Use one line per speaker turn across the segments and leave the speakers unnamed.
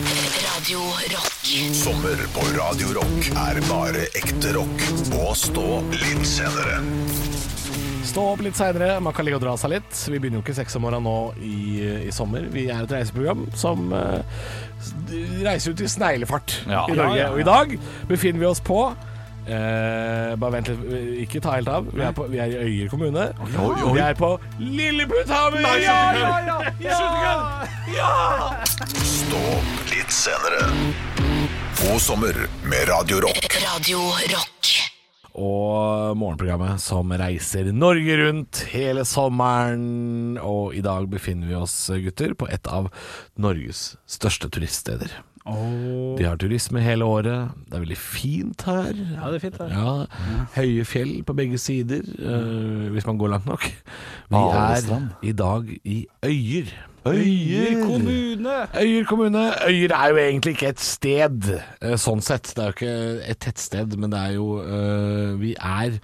Radio Rock.
Sommer på Radio Rock er bare ekte rock. Og stå litt senere.
Stå opp litt seinere, man kan ligge og dra seg litt. Vi begynner jo ikke seks om morgenen nå i, i sommer. Vi er et reiseprogram som eh, s- reiser ut i sneglefart
Ja.
i Norge.
Ja, ja.
Og i dag befinner vi oss på eh, bare vent litt, ikke ta helt av. Vi er, på, vi er i Øyer kommune. Og vi er på Lilleputthammer! Ja, ja, ja, ja.
Stå opp litt senere. God sommer med Radio Rock.
Radio Rock.
Og morgenprogrammet som reiser Norge rundt hele sommeren. Og i dag befinner vi oss, gutter, på et av Norges største turiststeder. De har turisme hele året. Det er veldig fint her. Ja,
det er fint her.
Høye fjell på begge sider, eh, hvis man går langt nok. Vi er
Balestrand.
i dag i Øyer.
Øyer kommune!
Øyer kommune. Øyer er jo egentlig ikke et sted, eh, sånn sett. Det er jo ikke et tettsted, men det er jo eh, Vi er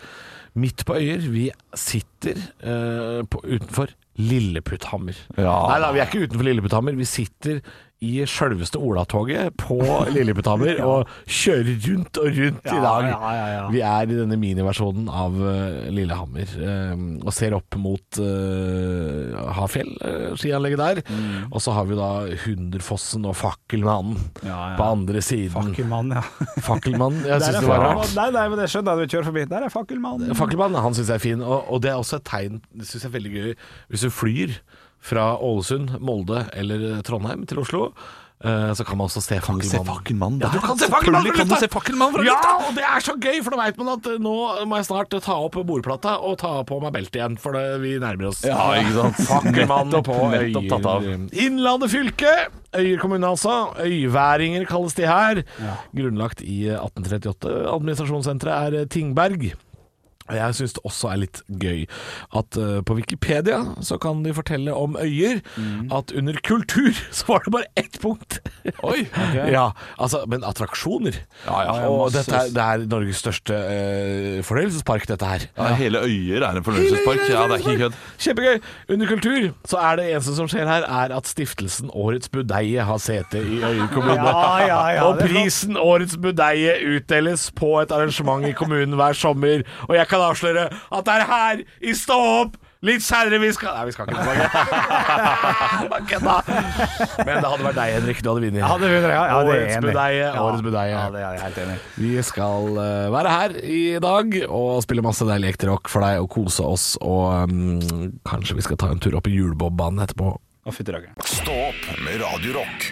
midt på Øyer. Vi sitter eh, på, utenfor Lilleputthammer.
Ja.
Nei da, vi er ikke utenfor Lilleputthammer. Vi sitter i sjølveste Olatoget på Lilleputthammer og kjører rundt og rundt i dag.
ja, ja, ja.
Vi er i denne miniversjonen av eh, Lillehammer eh, og ser opp mot eh, Hafjell, eh, skianlegget der.
Mm.
Og så har vi da Hunderfossen og Fakkelmannen
Ja, ja.
på andre siden.
Fakkelmann, ja.
Fakkelmannen, jeg
Der
syns
er
det var
fakkelmann.
rart.
Nei, nei, men det skjønner jeg når du kjører forbi. Der er fakkelmann.
Fakkelmannen, han syns jeg er fin, og, og det er også et tegn Det syns jeg er veldig gøy hvis du flyr fra Ålesund, Molde eller Trondheim til Oslo. eh, Så kan man også se
du se
Fakkelmannen.
Fakkelmannen
ja,
der?
du kan se fakkelmannen fra
Selvfølgelig kan du
lufta!
se Fakkelmannen fra
ja,
lufta!
og det er så gøy, for da veit man at eh, nå må jeg snart ta opp bordplata og ta på meg beltet igjen, for det, vi nærmer oss.
Ja, ikke sant?
Fakkelmannen
Nettopp-
på
nettopp tatt av.
Øyer. Innlandet fylke! Øyer kommune, altså. Øyværinger kalles de her. Grunnlagt i 1838. Administrasjonssenteret er eh, Tingberg. Og Jeg syns det også er litt gøy at eh, på Wikipedia så kan de fortelle om øyer
Mm.
at under kultur så var det bare ett punkt. Oi! Ja, altså, men attraksjoner.
Ja, ja, ja,
og
masse.
dette er, det er Norges største eh, fornøyelsespark, dette her.
Ja, hele Øyer er en fornøyelsespark. Ja, det er ikke kødd.
Kjempegøy. Under kultur så er det eneste som skjer her, er at stiftelsen Årets budeie har sete i Øyer kommune.
Ja, ja, ja,
og
det er flott.
prisen Årets budeie utdeles på et arrangement i kommunen hver sommer. Og jeg kan avsløre at det er her i Stå opp! Litt seinere vi skal Nei, vi skal ikke tilbake. Bare kødda. Men det hadde vært deg, Henrik. Du hadde vunnet.
Ja, det vinner jeg. Ja, det er
Årets
jeg enig i.
budeie.
Ja.
Årets budeie.
Ja, det er jeg helt enig i.
Vi skal eh, være her i dag og spille masse deilig ekte rock for deg og kose oss. Og mm, kanskje vi skal ta en tur opp i julebobbanen etterpå.
Å, fytti rakkeren.
Stå opp med Radio Rock.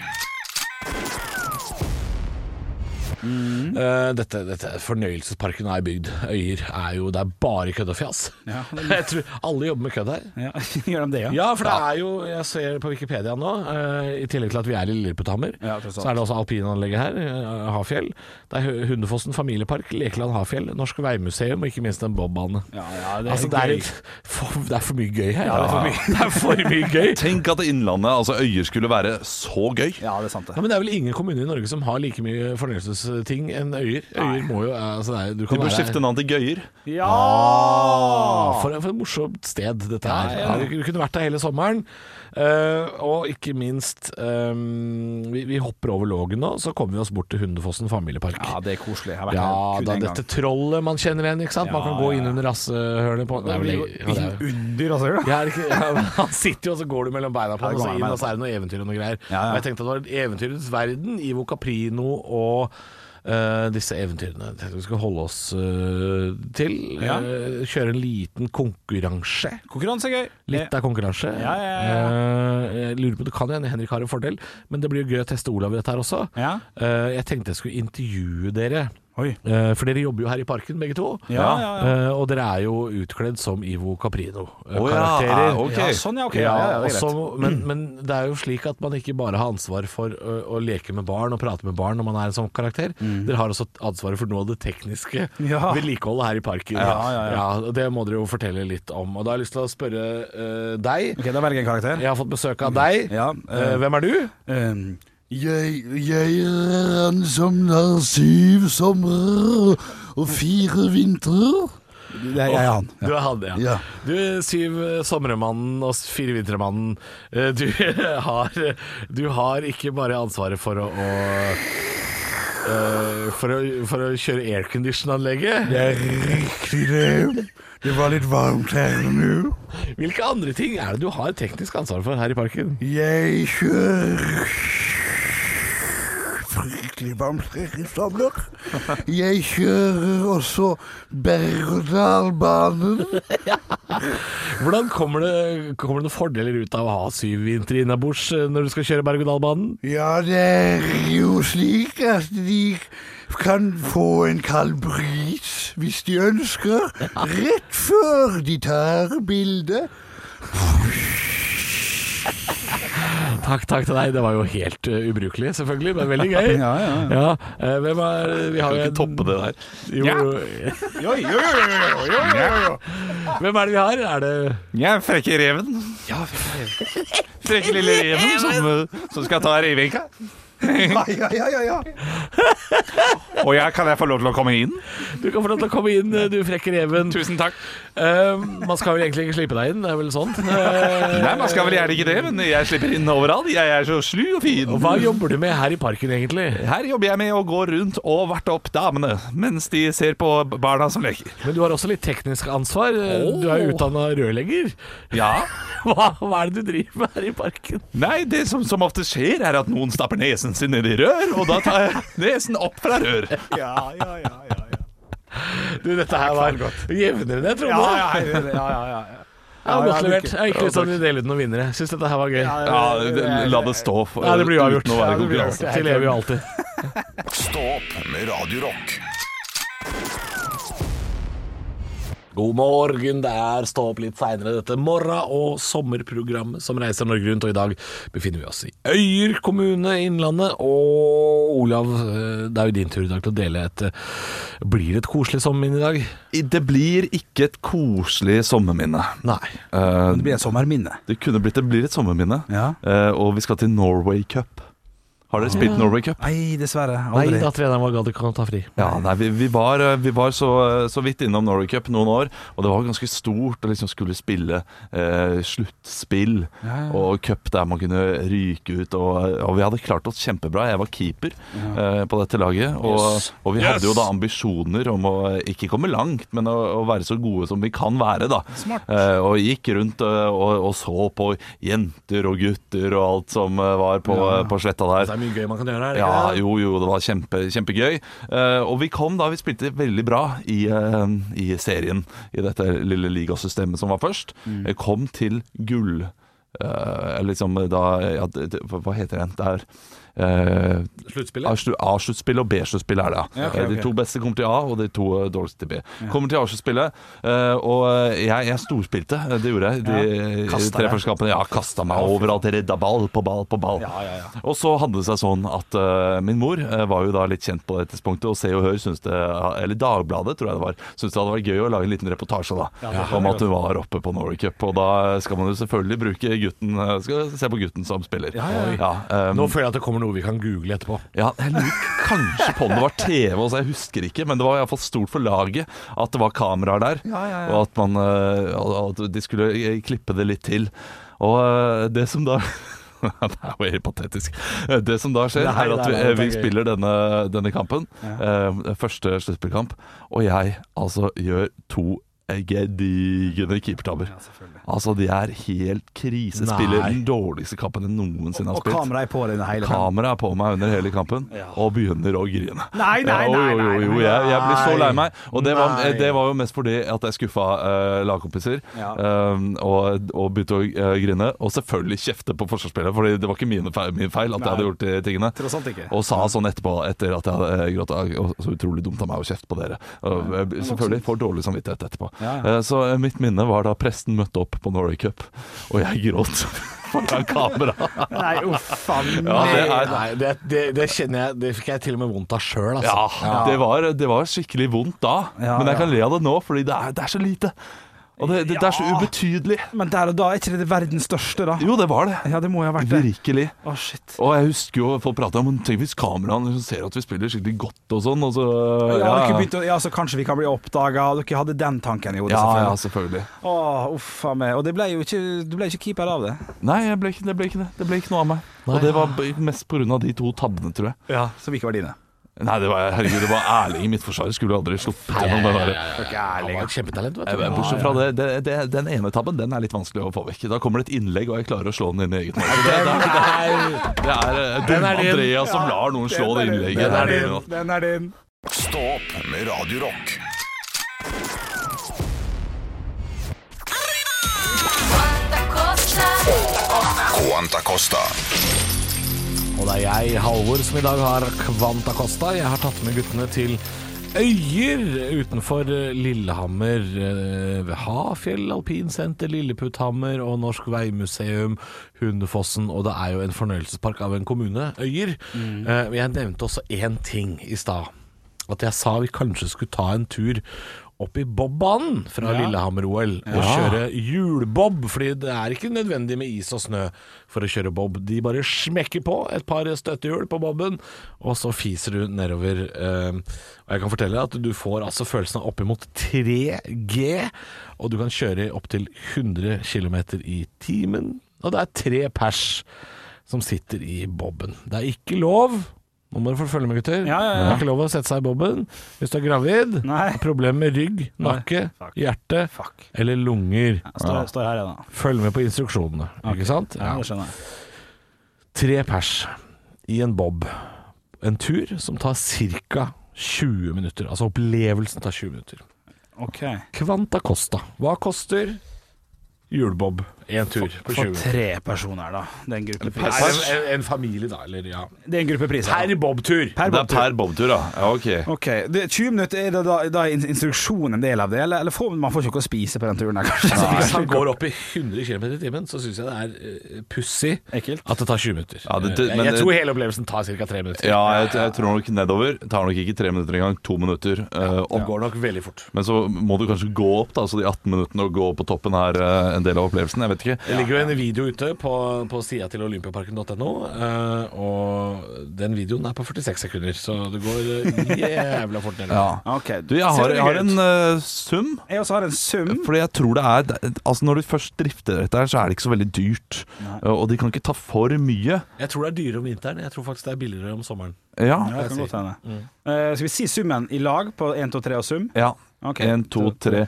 Mm.
Eh, dette, dette fornøyelsesparken er bygd. Øyer er jo Det er bare kødd og fjas.
Ja, det-
Jeg tror alle jobber med kødd her.
Ja, gjør de det, ja?
Ja, for det er jo Jeg ser på Wikipedia nå, eh, i tillegg til at vi er i Lilleputthammer,
Ja, tross alt.
så er det også alpinanlegget her, eh, Hafjell. Det er Hu- Hundefossen familiepark, Lekeland Hafjell, Norsk Veimuseum og ikke minst en bobbane.
Ja, ja, det er
altså, det, er
gøy.
et, for, det er for mye gøy her.
Ja, det er for mye.
Det er for mye gøy.
Tenk at Innlandet, altså Øyer, skulle være så gøy.
Ja, det er sant,
Ja,
det.
men Det er vel ingen kommune i Norge som har like mye fornøyelsesting enn Øyer. Øyer må jo altså, det er, du
De
kan
bør
være
skifte navn til Gøyer.
Ja!
For, for et morsomt sted dette er. Du, kunne vært der hele sommeren. Eh, og ikke minst eh, vi, vi hopper over Lågen nå, så kommer vi oss bort til Hundefossen familiepark.
Ja, det er koselig. Jeg har vært
Ja,
her kun
da
en gang.
dette trollet man kjenner igjen, ikke sant. man
Ja,
kan gå
ja,
inn
ja.
under rassehølet på det er vel- ja, det er jo-
Under, altså, gjør du?
Ja, er det ikke, ja, men han sitter jo, og så går du mellom beina på
Ja,
ham, og
det
så
går mellom
inn,
beina
og så er det noe eventyr og noe greier.
Ja, ja.
Og jeg tenkte at det var eventyrets verden, Ivo Caprino og eh, disse eventyrene Jeg tenkte vi skulle holde oss eh, til.
Ja.
Eh, kjøre en liten konkurranse.
Konkurranse er gøy.
Litt av konkurranse.
Ja, ja, ja.
Eh, jeg lurer på, Det kan hende Henrik har en fordel, men det blir jo gøy å teste Olav i dette her også.
Ja.
Eh, jeg tenkte jeg skulle intervjue dere,
Oi.
eh, for dere jobber jo her i parken begge to.
Ja, ja, ja.
Eh, og dere er jo utkledd som Ivo Eh, Caprino-karakterer.
Å ja, ah, ok.
ja sånn, ja. Ok.
ja,
Ja, ja, det er greit.
også, men, men det er jo slik at man ikke bare har ansvar for å, å leke med barn og prate med barn når man er en sånn karakter. Dere har også ansvaret for noe av det tekniske
Mm. Ja.
vedlikeholdet her i parken.
Ja, ja, ja.
og det må dere jo fortelle litt om. Og da har jeg lyst til å spørre eh, deg.
Ok, Da velger jeg en karakter.
Jeg har fått besøk av deg.
Ja,
Eh,
eh,
hvem er du?
Um,
Jeg, jeg er en som har syv somrer og fire vintrer.
Det er jeg er han.
Du er han, ja.
Ja.
Du er syv eh, sommermannen og s- fire vintermannen. Eh, Du har, du har ikke bare ansvaret for å, å eh, for å, for å kjøre aircondition-anlegget.
Det er riktig det. Det var litt varmt her nå.
Hvilke andre ting er det du har teknisk ansvar for her i parken?
Jeg kjører fryktelig varmt her i Stabler. Jeg kjører også berg-og-dal-banen.
Hvordan kommer det, kommer det noen fordeler ut av å ha syv vintre innabords eh, når du skal kjøre berg-og-dal-banen?
Ja, det er jo slik at de kan få en kald bris hvis de ønsker, rett før de tar bildet.
Takk, takk til deg. Det var jo helt eh, ubrukelig, selvfølgelig, men veldig gøy.
Ja, ja, ja.
eh, hvem er Vi har
Kan
jo
ikke toppe det der.
Jo, Hvem er det vi har? Er det
Jeg er frekke reven. Ja, frekke lille reven som, eh, som skal ta revinka.
Ja, ja, ja, ja.
Og jeg, kan jeg få lov til å komme inn?
Du kan få lov til å komme inn, eh, du frekke reven.
Tusen takk.
Eh, man skal vel egentlig ikke slippe deg inn, det er vel sånn? Eh,
Nei, man skal vel gjerne ikke det, men jeg slipper inn overalt. Jeg er så slu og fin.
og hva jobber du med her i parken, egentlig?
Her jobber jeg med å gå rundt og varte opp damene mens de ser på barna som leker.
Men du har også litt teknisk ansvar. Eh, Du er jo utdanna rørlegger.
Ja.
Hva, hva er det du driver med her i parken?
Nei, det som som ofte skjer, er at noen stapper nesen sin ned i rør, og da tar jeg nesen opp fra rør.
Ja, ja, ja, ja, ja.
Du, dette her var jevnere enn jeg trodde.
Ja, ja, ja, ja, ja, ja.
Ja,
Ja, ja,
godt
du-
levert. Jeg har ikke lyst til å dele ut noen vinnere. Syns dette her var gøy.
Ja, det- la det stå. For,
Ja, det blir uavgjort.
uten å være
Ja, det blir
konkurranse.
uavgjort. Til evig og alltid.
Stå opp med Radio Rock.
God morgen, det er Stå opp litt seinere dette morgen- og sommerprogrammet som reiser Norge rundt. Og i dag befinner vi oss i Øyer kommune i Innlandet. Og Olav, eh, det er jo din tur i dag til å dele et eh, Blir det et koselig sommerminne i dag?
Det blir ikke et koselig sommerminne.
Nei.
Eh,
Det blir et sommerminne.
det kunne blitt Det blir et sommerminne.
Ja.
Eh, og vi skal til Norway Cup. Har dere spilt Norway Cup?
Nei, dessverre.
Nei
Aldri.
da, treneren var gadd ikke å ta fri.
Ja, nei, vi, vi var, eh, vi var så, så vidt innom Norway Cup noen år, og det var ganske stort å liksom skulle spille eh, sluttspill
Ja, ja.
og cup der man kunne ryke ut. Og, eh, og vi hadde klart oss kjempebra. Jeg var keeper eh, på dette laget. Og, og vi hadde jo da ambisjoner om å ikke komme langt, men å, å være så gode som vi kan være. da. Eh, og gikk rundt eh, og, og så på jenter og gutter og alt som eh, var på, på sletta der.
Det er mye gøy man kan gjøre her.
Ja,
ikke det?
jo, jo, det var kjempe, kjempegøy. Eh, og vi kom da, vi spilte veldig bra i, eh, i serien, i dette lille ligasystemet som var først.
Mm.
Eh, kom til gull eh, liksom da ja, det, det, Hva heter den? Det er eh,
Sluttspillet.
A-slu- A-sluttspill og B-sluttspill er det.
Ja, ok,
Eh, De
ok.
to beste kommer til A, og de to eh, dårligste til B. Kommer til A-sluttspillet, eh, og eh, jeg, jeg storspilte. eh, Det gjorde jeg. De ja.
Kastet
tre
deg.
første kampene. Ja, kasta meg overalt. Redda ball på ball på ball.
Ja, ja, ja.
Og så hadde det seg sånn at eh, min mor eh, var jo da litt kjent på det tidspunktet, og Se og Hør syntes det Eller Dagbladet, tror jeg det var. Syntes det hadde vært gøy å lage en liten reportasje da om at hun var oppe på Norway Cup. Og da skal man jo selvfølgelig bruke gutten eh, Skal se på gutten som spiller. Ja, eh,
Nå føler jeg at det kommer noe vi kan google etterpå.
ja, jeg lurer kanskje på om det var TV også, jeg husker ikke. Men det var iallfall stort for laget at det var kameraer der. Og at, man, eh, og at de skulle eh, klippe det litt til. Og eh, det som da Det er jo helt patetisk. Eh, Det som da skjer,
Nei,
er at
nei,
vi,
nei,
eh,
det er
vi
gøy.
spiller denne, denne kampen. eh, Første sluttspillkamp. Og jeg altså gjør to gedigne keepertabber. altså, de er helt krise. Spiller
Nei.
den dårligste kampen jeg noensinne har
Og
spilt.
kameraet er på deg hele tiden.
Kamera er på meg under hele kampen og begynner å grine.
Nei, nei, nei,
Jo,
nei,
jo, jo,
nei.
jeg, jeg blir så lei meg. Og det var,
Nei.
det var jo mest fordi at jeg skuffa eh, lagkompiser
Ja.
eh, og, og begynte å eh, grine. Og selvfølgelig kjefte på forsvarsspillet, Fordi det var ikke mine feil, min feil at jeg hadde gjort de tingene.
Tross alt ikke.
Og sa sånn etterpå, etter at jeg hadde eh, grått «Å, Så utrolig dumt av meg å kjefte på dere. Og, eh, selvfølgelig får dårlig samvittighet etterpå.
Ja, ja.
Eh, Så eh, mitt minne var da presten møtte opp på Norway Cup, og jeg gråt foran kamera.
Nei, uff a
Ja,
meg.
det er,
Nei, det, det, det kjenner jeg Det fikk jeg til og med vondt av sjøl, altså.
Ja, Det, var, det var skikkelig vondt da,
Ja,
men jeg
ja.
kan le av det nå, fordi det er, det er så lite. Og det, det, det er så
Ja.
ubetydelig.
Men der og da, er ikke det det verdens største, da?
Jo, det var det.
Ja, det må jo ha vært det.
Virkelig.
Å, shit.
Og jeg husker jo folk prata om Tenk hvis kameraene liksom ser at vi spiller skikkelig godt og sånn, og så
Ja,
ja.
dere begynte å, ja, så kanskje vi kan bli oppdaga. Dere hadde den tanken i hodet,
ja, ja,
selvfølgelig.
selvfølgelig.
Å, uff a meg. Og det ble jo ikke, du ble ikke keeper av det.
Nei, jeg ble ikke, det ble ikke det. Det ble ikke noe av meg.
Nei.
Og det var b- mest pga. de to tabbene, tror jeg.
Ja, Som ikke var dine.
Nei, det var, herregud, det var Erling i midtforsvaret. Skulle aldri sluppet gjennom den der.
Han var et kjempetalent, vet
Eh,
du.
men Bortsett fra det, det, det, den ene tabben den er litt vanskelig å få vekk. Da kommer det et innlegg, og jeg klarer å slå den inn i eget mål. Så Det, det, det, det er eh,
Den
dum
er din.
Andreas som lar noen slå det innlegget.
Den er
Det
din.
Den er din.
Stå opp med Radio Rock. Quanta Costa.
Og det er jeg, Halvor, som i dag har Kvanta Costa. Jeg har tatt med guttene til Øyer utenfor eh, Lillehammer. eh, ved Hafjell alpinsenter, Lilleputthammer og Norsk Veimuseum, Hundefossen. Og det er jo en fornøyelsespark av en kommune, Øyer. Eh, Men jeg nevnte også én ting i stad. At jeg sa vi kanskje skulle ta en tur opp i bobbanen fra Lillehammer-OL og kjøre hjulbob, fordi det er ikke nødvendig med is og snø for å kjøre bob. De bare smekker på et par støttehjul på bobben, og så fiser du nedover. eh, Og jeg kan fortelle deg at du får altså følelsen av oppimot 3G, og du kan kjøre i opptil 100 km i timen, og det er tre pers som sitter i bobben. Det er ikke lov nå må dere få følge med, gutter.
Ja, ja, ja.
Det er ikke lov å sette seg i bobben hvis du er gravid.
Nei.
Problemer med rygg, nakke,
Fuck.
hjerte
Fuck.
eller lunger.
Står, står her, jeg, da.
Følg med på instruksjonene, ikke sant?
Ja, det skjønner jeg.
Tre pers i en bob. En tur som tar ca. 20 minutter. Altså opplevelsen tar 20 minutter.
OK.
Kvanta Costa. Hva koster julebob? Én tur på 20
For
minutter.
tre personer, da. Det er en
Nei,
gruppepris.
En, en familie, da. Eller ja.
Det er en gruppepris. her, da.
Per bobtur.
er per bobtur, da. Ja, ok.
Ok, det, 20 minutter, er det da, da er instruksjonen en del av det? Eller, eller får, man får ikke noe å spise på den turen her, kanskje?
Hvis han går opp i 100 km i timen, så syns jeg det er uh, pussig
Ekkelt.
at det tar 20 minutter.
Ja, det- det-
Eh,
men-
jeg tror hele opplevelsen tar ca. 3 minutter.
Ja, jeg, jeg tror nok nedover. Tar nok ikke tre minutter engang. To minutter eh,
Det
opp.
går nok veldig fort.
Men så må du kanskje gå opp, da, så de 18 minuttene å gå opp på toppen er eh, en del av opplevelsen. Jeg vet ikke.
Det ligger jo en video ute på, på sida til olympiaparken.no, eh, og den videoen er på 46 sekunder, så det går eh, jævla fort nedover.
Ok,
Du, jeg
ser
har,
det
jeg har
gøy
en
ut?
eh, sum.
Jeg også har en sum.
Mm.
Fordi jeg tror det er Altså Når du først drifter dette, her så er det ikke så veldig dyrt. Eh, Og de kan ikke ta for mye.
Jeg tror det er dyrere om vinteren, jeg tror faktisk det er billigere om sommeren.
Ja.
Ja, det kan godt hende.
Mm.
Eh, skal vi si summen i lag på 1, 2, 3 og sum?
ja.
Ok.
1, 2, 3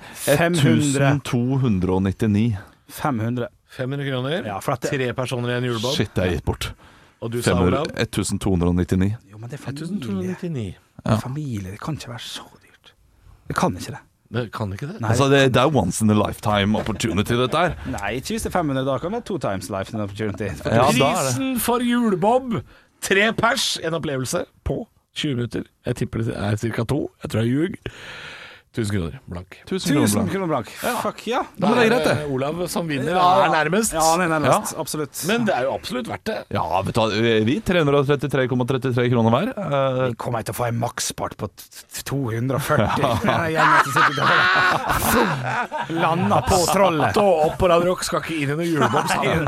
500.
1299.
500.
500 kroner,
Ja, for at det-
tre personer i en julebob,
Shit, det er gitt bort.
og du sa
500
Olav
1299.
Jo, men det er familie.
1299.
Familie, det kan ikke være så dyrt. Det kan ikke det.
Det kan ikke det?
Nei.
Altså, det, det er once in a lifetime opportunity, dette her.
Nei, ikke hvis det er 500. Da kan det være two times life and opportunity. For
Ja, da er det.
Prisen for julebob, tre pers, en opplevelse på 20 minutter. Jeg tipper det er ca. to. Jeg tror jeg ljug. 1000 kroner blank.
1000 kroner.
1000
blank.
kroner blank. Fuck ja.
Da
men det er greit, det.
eh, Olav som vinner,
Ja.
er nærmest.
Ja, han er nærmest. Absolutt.
Men det er jo absolutt verdt det.
Ja, vet du hva, vi 333,33 kroner hver. Eh,
Kommer jeg til å få en maksfart på t- t- 240? Den gjengen som sitter der. Landa på trollet.
Stå opp på Radio Rock, skal ikke inn i noe julebob sammen.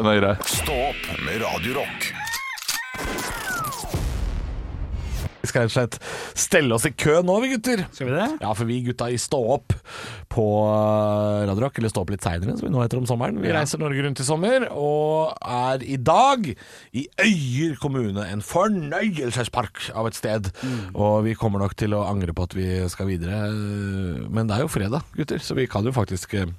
Den er grei.
Stå opp med Radio Rock.
Vi skal rett og slett stelle oss i kø nå, vi gutter.
Skal vi det?
Ja, for vi gutta i Stå opp på eh, Radio Rock, eller Stå opp litt seinere, som vi nå heter om sommeren. Vi reiser Norge rundt i sommer, og er i dag i Øyer kommune. En fornøyelsespark av et sted. Og vi kommer nok til å angre på at vi skal videre, eh, men det er jo fredag, gutter, så vi kan jo faktisk eh,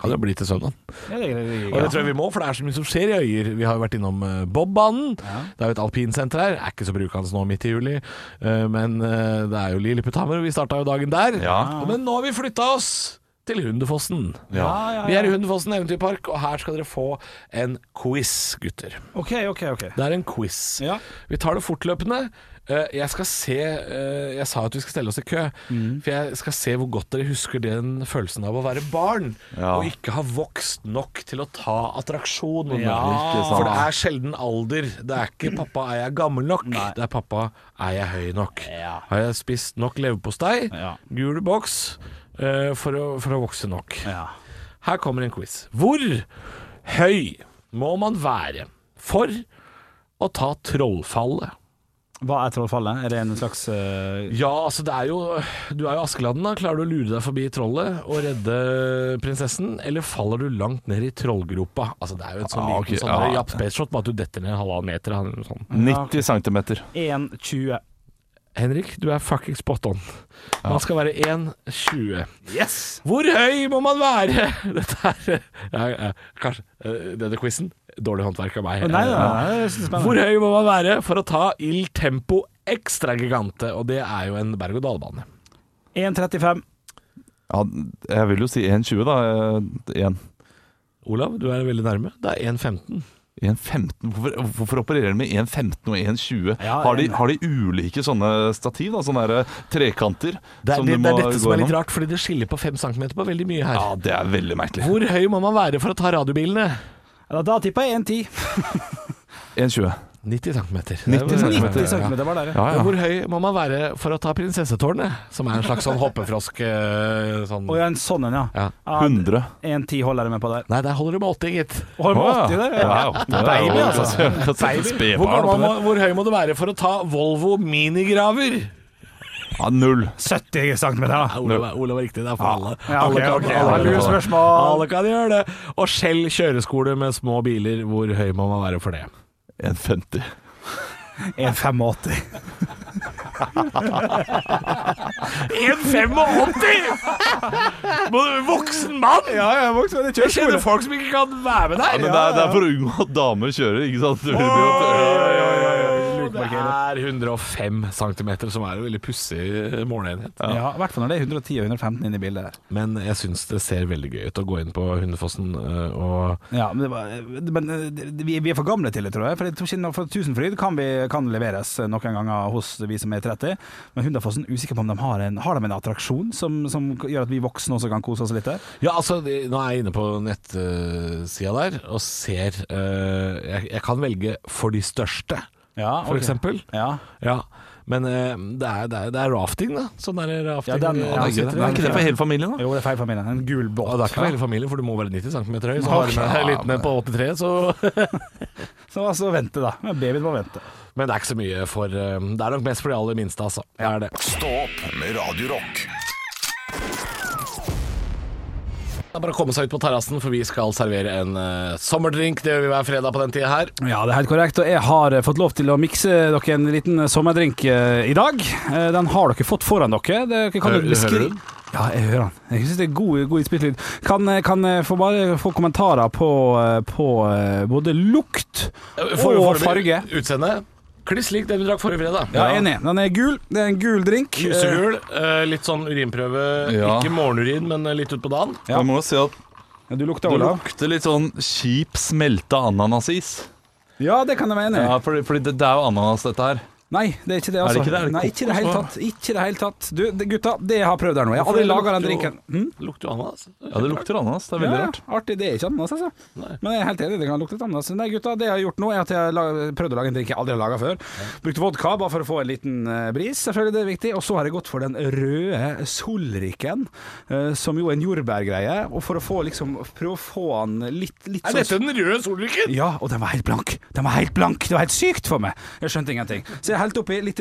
kan jo bli til søndag.
Ja, det er greit.
Og det tror jeg vi må, for det er så mye som skjer i Øyer. Vi har jo vært innom eh, Bobbanen. Det er jo et alpinsenter her. Er ikke så brukende nå midt i juli, eh, men eh, det er jo Lilleputthammer, og vi starta jo dagen der.
Ja.
Og- Men nå har vi flytta oss til Hundefossen. Vi er i Hundefossen eventyrpark, og her skal dere få en quiz, gutter.
OK, OK. ok
Det er en quiz.
Ja.
Vi tar det fortløpende. Eh, Jeg skal se eh, Jeg sa at vi skal stelle oss i kø,
Mm.
for jeg skal se hvor godt dere husker den følelsen av å være barn
Ja.
og ikke ha vokst nok til å ta attraksjonen.
ikke sant.
For det er sjelden alder. Det er ikke 'pappa, er jeg gammel nok?' Det er 'pappa, er jeg høy nok?'
Ja.
Har jeg spist nok leverpostei?
Ja.
Gul boks? eh, for, å, for å vokse nok.
Ja.
Her kommer en quiz. Hvor høy må man være for å ta trollfallet?
Hva er trollfallet? Er det en slags eh,
Ja, altså det er jo Du er jo Askeladden, da. Klarer du å lure deg forbi trollet og redde prinsessen? Eller faller du langt ned i trollgropa? Altså Det er jo et sånn
Ah,
liten
ok,
sånn
ja.
der japp spaceshot, bare at du detter ned en halvannen meter. sånn. eller noe sånt.
90 cm.
1,20?
Henrik, du er fucking spot on. Man skal være 1,20.
Yes!
Hvor høy må man være? Dette er ja, ja, Kanskje eh, denne quizen? Dårlig håndverk av meg.
Å, Nei,
Eh,
nei, nei, det er så
Hvor
spennende.
høy må man være for å ta Il Tempo Extra Gigante? Og det er jo en berg-og-dal-bane.
1,35.
Ja, jeg vil jo si 1,20, da. Eh, en-
Olav, du er veldig nærme. Det er 1,15.
1,15 hvorfor, hvorfor opererer de med 1,15 og 1,20?
Ja,
har, de-
en-
har de ulike sånne stativ? da, Sånne der, eh, trekanter?
Det er,
som
det, det
du må
er dette
gå
som er litt
gjennom?
rart, fordi det skiller på 5 cm på veldig mye her.
Ja, det er veldig merkelig.
Hvor høy må man være for å ta radiobilene?
Da, da tippa jeg 1,10.
1,20.
90 cm.
90
90
centimeter,
cm var der. ja.
Ja, ja.
Hvor høy må man være for å ta prinsessetårnet? Som er en slags sånn hoppefrosk eh, sånn.
Å ja, en sånn en, ja.
Ja.
Ja,
100.
1,10 holder jeg med på der.
Nei, der holder du med 80, gitt.
Holder med 80 der, ja.
Wow, det er
Baby,
jo-
altså.
kan sette et
Hvor,
spedbarn
gammel
oppi
må,
der.
hvor høy må du være for å ta Volvo minigraver?
Ja, null.
70 cm, da.
Olav, er- Olav er riktig, det er for alle.
Ja, ok,
alle,
ok.
kan, alle,
Lure
kan,
spørsmål.
alle kan gjøre det. Og Skjell kjøreskole med små biler, hvor høy må man være for det?
1,50.
1,85!
1,85.
Må du- Voksen mann!
Ja, jeg er voksen, men jeg
Jeg kjenner folk som ikke kan være med
Ja,
der.
men det er, det er for å unngå at damer kjører, ikke sant? Du vil jo-
Og Det er 105 cm, som er en veldig pussig eh, måleenhet.
Ja, I hvert fall når det er 110 og 115 inne i bildet der.
Men jeg syns det ser veldig gøy ut å gå inn på Hundefossen eh, og
Ja, men, det var, men eh, vi, vi er for gamle til det, tror jeg. For jeg tror ikke for Tusenfryd kan, vi, kan leveres noen ganger hos vi som er 30. Men Hundafossen usikker på om de har en, har de en attraksjon som, som gjør at vi voksne også kan kose oss litt der.
Ja, altså, det- nå er jeg inne på nettsida der og ser eh, jeg, jeg kan velge for de største,
Ja,
for eksempel.
Ja.
Ja. Men eh, det, er, det, er, det er rafting, da. Sånn der rafting.
Ja, den-
eh,
ja,
sitter
den-
det.
Er ikke det for hele familien, da?
Jo, det er feil familie. En gul båt.
Ja, det er ikke for hele familien, for du må være 90 cm høy. Så har du med deg en liten en på 83, så
Så altså, vente, da. Men Babyen må vente.
Men det er ikke så mye for eh, Det er nok mest for de aller minste, altså. Det er det.
Stå opp med Radio Rock.
Det er bare å komme seg ut på terrassen, for vi skal servere en eh, sommerdrink. Det gjør vi hver fredag på den tida her.
Ja, det er helt korrekt. Og jeg har eh, fått lov til å mikse dere en liten eh, sommerdrink eh, i dag. Eh, Den har dere fått foran dere. Det- Kan
Hø-
dere beskri-
hører du den?
Ja, jeg hører den. Jeg syns det er god, god innspyttlyd. Kan, eh, kan jeg få bare få kommentarer på, eh, på eh, både lukt og farge?
Eh, Utseende. Kliss lik den vi drakk forrige fredag.
Ja, enig. Den er gul. Det er en gul drink. Eh,
Lusegul, eh, litt sånn urinprøve.
Ja.
Ikke morgenurin, men eh, litt utpå dagen.
Jeg må jo si at
Eh, ja, Du lukter
det
Olav.
lukter litt sånn kjip smelta ananasis.
Ja, det kan jeg være enig i.
Ja, fordi, fordi det, det er jo ananas, dette her.
Nei, det er ikke det,
det
altså.
ikke det? Er det
Nei, ikke i det hele
kokos,
tatt. Ikke i det hele tatt. Du, det, gutta, det jeg har prøvd her nå Jeg har aldri
Hvorfor
laga den
lukter jo-
drinken. Hm?
Lukter jo altså. ananas.
Ja, det lukter ananas. Det er veldig
Ja,
rart.
Artig. Det er ikke ananas, altså.
Nei.
Men jeg er helt enig, det kan lukte litt ananas. Nei, gutta, det jeg har gjort nå, er at jeg har la- prøvd å lage en drink jeg aldri har laga før. Brukte vodka bare for å få en liten eh, bris, selvfølgelig, det er viktig. Og så har jeg gått for den røde solriken, eh, som jo er en jordbærgreie. Og for å få liksom Prøve å få han litt, litt sånn
Er dette den røde solrikken?
ja, og den var helt blank. Den var helt blank Det var helt sykt for meg. Jeg skjønte ingenting. Så jeg helte oppi litt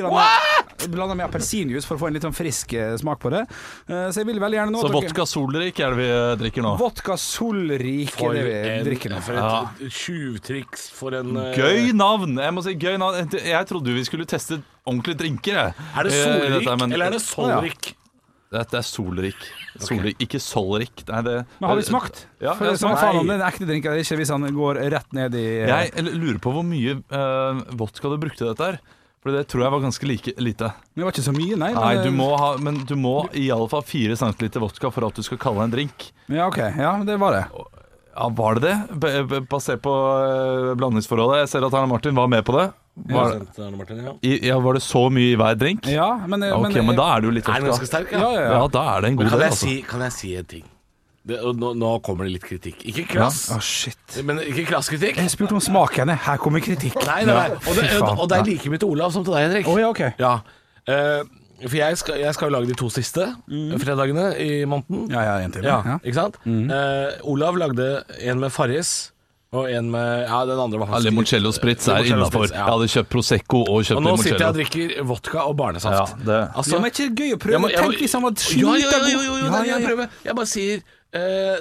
Blanda med appelsinjuice for å få en litt sånn frisk eh, smak på det. Eh, Så jeg vil veldig gjerne nå
Så
dere-
vodka solrik er det vi eh, drikker nå.
Vodka solrik
For,
er det vi
en,
drikker nå.
for et tjuvtriks for en eh,
Gøy navn! Jeg må si gøy navn. Jeg trodde vi skulle teste ordentlige drinker, jeg.
Er det
Eh,
solrik,
dette men-
eller er det solrik?
Dette er solrik. solrik. Ikke solrik. Nei, det,
Men har vi smakt?
Ja,
For det
jeg har
er sånn,
smakt.
faen om det er en ekte drink eller ikke hvis han går rett ned i eh,
Jeg l- lurer på hvor mye eh, vodka du brukte i dette her. For det tror jeg var ganske like, lite.
Men det var ikke så mye, nei.
Nei,
men- eh,
du må ha, men du må i alle fall 4 cm vodka for at du skal kalle det en drink.
eh, Ja, ok. Ja, det var det.
Ja, Var det det? B- b- Basert på eh, blandingsforholdet. Jeg ser at Arne Martin var med på det. Var, i, ja, var det så mye i hver drink?
Ja, men, eh,
Ja, ok, men, da er det jo litt
Er den ganske
vodka.
sterk?
ja, ja, ja.
Ja, da er det en god
Kan
del,
jeg,
altså.
si, kan jeg si en ting? Det, og nå, nå kommer det litt kritikk. Ikke
Ja.
krass,
Å, shit.
men ikke krass kritikk.
Jeg spurte om smaken. jeg. Her kommer kritikk.
Nei, nei, nei. Og, det,
Fy faen.
og det er like mye til Olav som til deg, Henrik.
Å, ja, ok.
Ja. Eh, For jeg skal, jeg skal jo lage de to siste
Mm.
fredagene i måneden.
Ja, ja, en til.
Ja,
Ja. Mm.
ikke sant? Eh, Olav lagde en med Farris, og en med Ja, den andre var
Ja,
faktisk
Limoncello-sprits er
Limoncello
innafor.
spritz, ja.
Jeg hadde kjøpt Prosecco og kjøpt
Og nå sitter jeg og
limoncello.
drikker vodka og barnesaft.
Ja, det-
Altså-
Ja, men er ikke det gøy å liksom prøve?
Jeg må- jeg må-
Tenk hvis han var
Ja,
sjukt
ja, ja, jo, jo, jo,
god.
nei, jeg prøver. Jeg bare sier eh,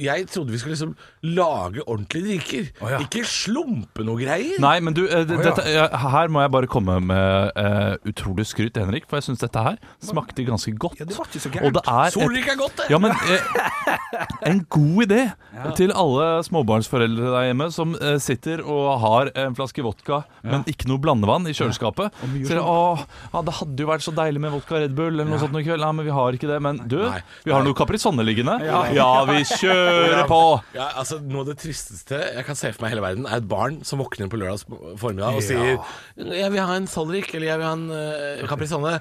Jeg trodde vi skulle liksom lage ordentlige drikker.
ja.
Ikke slumpe noe greier.
Nei, men du, eh, d-
Å, ja.
dette, jeg- her må jeg bare komme med eh, utrolig skryt, Henrik. For jeg syns dette her smakte ganske godt.
Ja, det var ikke så gærent.
Og det er et
Solrik er godt, det.
Ja, men eh, en god idé til alle småbarnsforeldre der hjemme som eh, sitter og har en flaske vodka, men ikke noe blandevann i kjøleskapet. Sier åh, ja, det hadde jo vært så deilig med vodka Red Bull eller noe sånt noe kveld. Nei, men vi har ikke det. Men du,
Nei.
vi har noe Caprisonne liggende. Ja, vi kjører på!
Ja, altså Noe av det tristeste jeg kan se for meg i hele verden, er et barn som våkner på lørdags formiddag og sier 'Jeg vil ha en solrik', eller 'Jeg vil ha en uh, caprisonne'.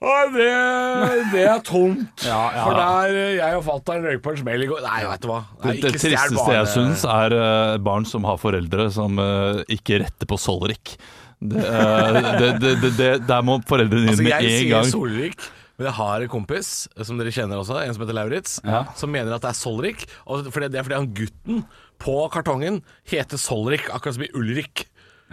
Nei, det, det er tomt. For der eh, jeg og fatter'n røyk på en smell i går Nei, veit du hva. Nei,
Det, det
ikke stjel
tristeste
barne-
jeg syns, er eh, barn som har foreldre som eh, ikke retter på solrik. Det, eh, det, det, det, det, der må foreldrene
Altså,
dine
jeg
med en
sier
gang
solrik, men jeg har en kompis eh, som dere kjenner også, en som heter Lauritz, som mener at det er solrik. Og fordi, det er fordi han gutten på kartongen heter Solrik, akkurat som i Ulrik.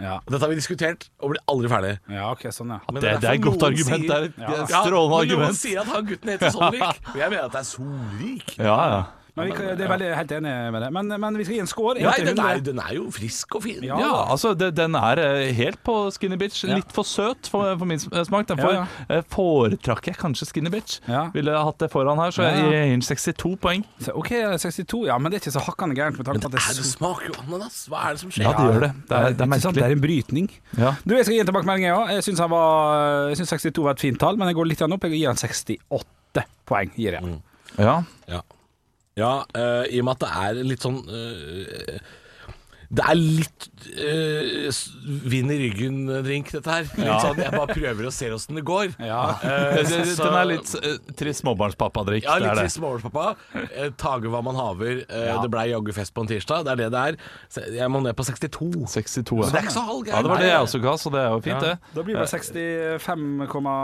Ja.
Og Dette har vi diskutert og blir aldri ferdig.
ja, ok, sånn ja.
Men er
Det, det er et
derfor
godt
noen
argument.
sier-
Det er et det er et
Ja,
strålende
men Noen
argument.
sier at han gutten heter Solrik, og jeg mener at det er Solrik.
Ja, ja.
Men vi, kan- det er veldig, helt enig med det. Men, men vi skal gi en score.
Nei,
en til
den er,
100.
den er jo frisk og fin.
Ja.
ja altså, det, den er eh, helt på skinny bitch.
Ja.
Litt for søt for, for min sm- smak. Derfor
Ja,
eh, foretrakk jeg kanskje skinny bitch.
Ja.
Ville jeg hatt det foran her, så
Ja, ja.
jeg gir den 62 poeng.
Så, OK, 62. Ja, men det er ikke så hakkende gærent med tanke på at det
Nei,
er
det
så
smaker jo ananas. Hva er det som skjer?
Ja, det gjør det. Det
Ikke
er, det er
sant? Det
merkelig.
er en brytning.
Ja.
Du, Jeg skal gi en tilbakemelding, jeg òg. Jeg syns 62 var et fint tall, men jeg går litt grann opp. Jeg gir han 68 poeng. Gir jeg.
Ja.
Ja, ja eh, i og med at det er litt sånn eh, Det er litt eh, s- vind i ryggen-drink, dette her. Litt sånn, Jeg bare prøver å se åssen det går. Eh,
Det- det- det-
så-
Den er litt eh, trist småbarnspappadrikk.
ja,
det
litt
er det.
trist småbarnspappa. Eh, Tage hva man haver. Eh, Det blei jaggu fest på en tirsdag. Det er det det er. Så Jeg må ned på 62.
62,
Så det er ikke så halv
Sånn, Ja, det var det jeg også ga, så det er jo fint,
Ja.
det.
Da blir det 65, komma...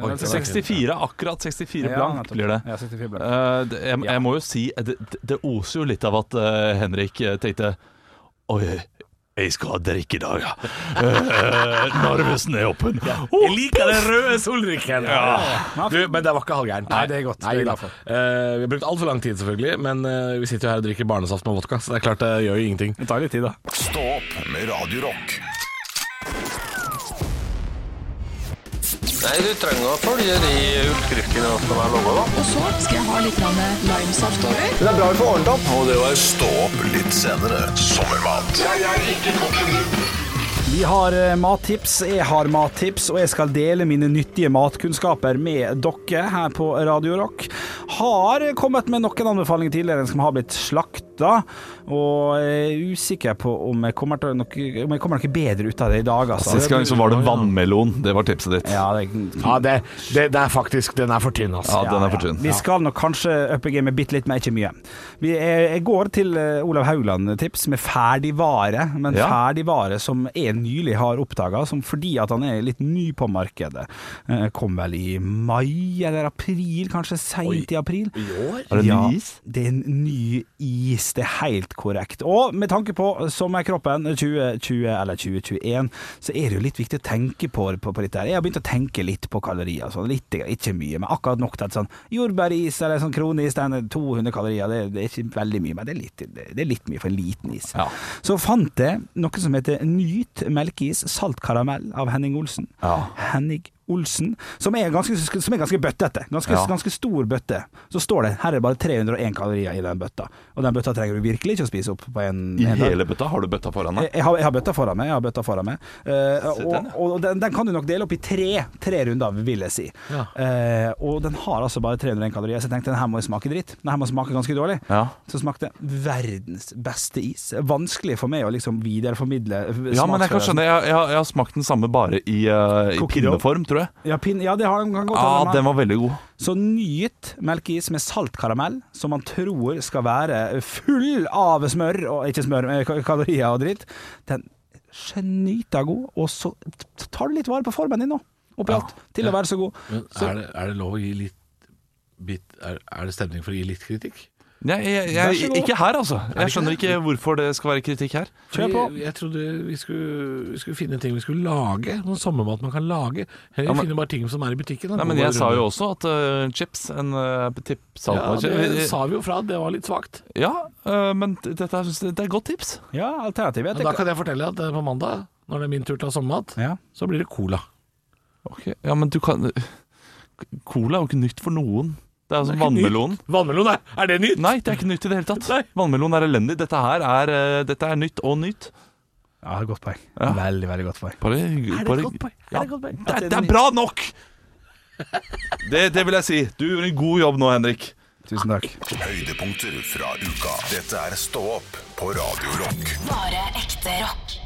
Oi,
vel,
det var
64, akkurat 64
Ja,
blankt
nettopp.
altså blir det.
Ja, 64 blankt.
Eh, det- jeg,
Ja.
jeg må jo si eh, Det, det- det oser jo litt av at eh, Henrik eh, tenkte Oi, jeg skal ha drikke i dag, ja. Eh, Narvesen er åpen.
Jeg liker den røde solrikken.
Ja.
Du, men det var ikke halvgærent.
Nei, det er godt. Det er jeg glad for.
Eh, vi har brukt altfor lang tid, selvfølgelig, men eh, vi sitter jo her og drikker barnesaft med vodka, så det er klart det gjør jo ingenting.
Det tar litt tid, da.
Stå opp med Radio Rock.
Nei, du trenger å følge de utskriftene som er laga, da.
Og så skal jeg ha litt grann limesaft over.
Det er bra vi får ordnet opp. Og det var
Stå opp litt senere. Sommermat
Vi har eh, mattips, jeg har mattips, og jeg skal dele mine nyttige matkunnskaper med dere her på Radio Rock. Har kommet med noen anbefalinger tidligere som har blitt slakta, og jeg er usikker på om jeg kommer, til noe, om jeg kommer noe bedre ut av det i dag, altså.
Sist gang så var det vannmelon. Det var tipset ditt.
Ja, det,
Ja, det, det, det er faktisk Den er for tynn, altså.
Ja, den er for tynn.
Vi skal nok kanskje uppe gamet bitte litt, men ikke mye. Vi er, jeg går til eh, Olav Haugland-tips med ferdigvare, men
Ja.
ferdigvare som jeg nylig har oppdaga, fordi at han er litt ny på markedet. Eh, Kom vel i mai eller april, kanskje seint i april.
I år?
Er det en ny is?
Det er en ny is, det er helt korrekt. Og med tanke på sommerkroppen 2020 eller 2021, så er det jo litt viktig å tenke på, på, på dette. her. Jeg har begynt å tenke litt på kalorier, sånn. litt, ikke mye, men akkurat nok til at sånn jordbæris eller sånn kroneis, den er 200 kalorier, det, det er ikke veldig mye, men det er litt, det, det er litt mye for en liten is.
Ja.
Så fant jeg noe som heter Nyt melkeis salt karamell av Henning Olsen.
Ja.
Henning Olsen, som er ganske, som er ganske bøttete. Ganske,
Ja.
ganske stor bøtte. Så står det her er bare 301 kalorier i den bøtta, og den bøtta trenger du virkelig ikke å spise opp på en,
I
en dag.
hele bøtta? Har du bøtta foran
Jeg,
deg?
jeg, har, jeg har bøtta foran meg. Jeg har bøtta foran meg. Eh, og og den, den kan du nok dele opp i tre, tre runder, vil jeg si. Eh, og den har altså bare 301 kalorier, så jeg tenkte den her må jo smake dritt. Den her må smake ganske dårlig.
Ja.
Så smakte verdens beste is. Vanskelig for meg å liksom videreformidle
Ja, men jeg kan
smaksfølelsen.
skjønne. Jeg, jeg, har- jeg har smakt den samme bare i, eh, i
Cookie dough.
pinneform, tror jeg.
Ja, pin, ja, det har den kan godt
Ja,
hende.
den var veldig god.
Så nyt melkeis med saltkaramell, som man tror skal være full av smør, og ikke smør, eh, ka- kalorier og dritt. Den er genyta god, og så t- tar du litt vare på formen din nå. oppi alt til å være så god. Så,
Er det, er det lov å gi litt bit, er, er det stemning for å gi litt kritikk?
Nei, jeg,
Vær
jeg,
så god.
ikke her, altså. Jeg skjønner ikke hvorfor det skal være kritikk her.
kjør på.
Jeg, jeg trodde vi skulle, vi skulle finne ting vi skulle lage. Noen sommermat man kan lage. Heller
Ja, men-
finne bare ting som er i butikken. da.
Nei, men
Gå
jeg
bare
sa
rundt.
jo også at eh, chips en uh,
ja, Det
tipsalva
sa vi jo fra, det var litt svakt.
Ja, eh, men dette er, det er et godt tips.
Ja, alternativet er
Men
at
da
det-
kan jeg fortelle at eh, på mandag, når det er min tur til å ha sommermat,
ja.
så blir det cola.
Ok, Ja, men du kan Cola er jo ikke nytt for noen. Det er jo som vannmelonen.
Vannmelon, er, er det nytt?
Nei, det er ikke nytt i det hele tatt. Vannmelon er elendig. Dette her er, eh, dette er nytt og nytt.
ja, godt poeng.
Ja.
Veldig, veldig godt poeng.
Bare, er det bare,
godt poeng?
Ja,
godt poeng?
Det, det er bra nok! Det, det vil jeg si. Du gjorde en god jobb nå, Henrik.
Tusen takk.
Høydepunkter fra uka. Dette er Stå opp på Radio Rock.
Bare ekte rock.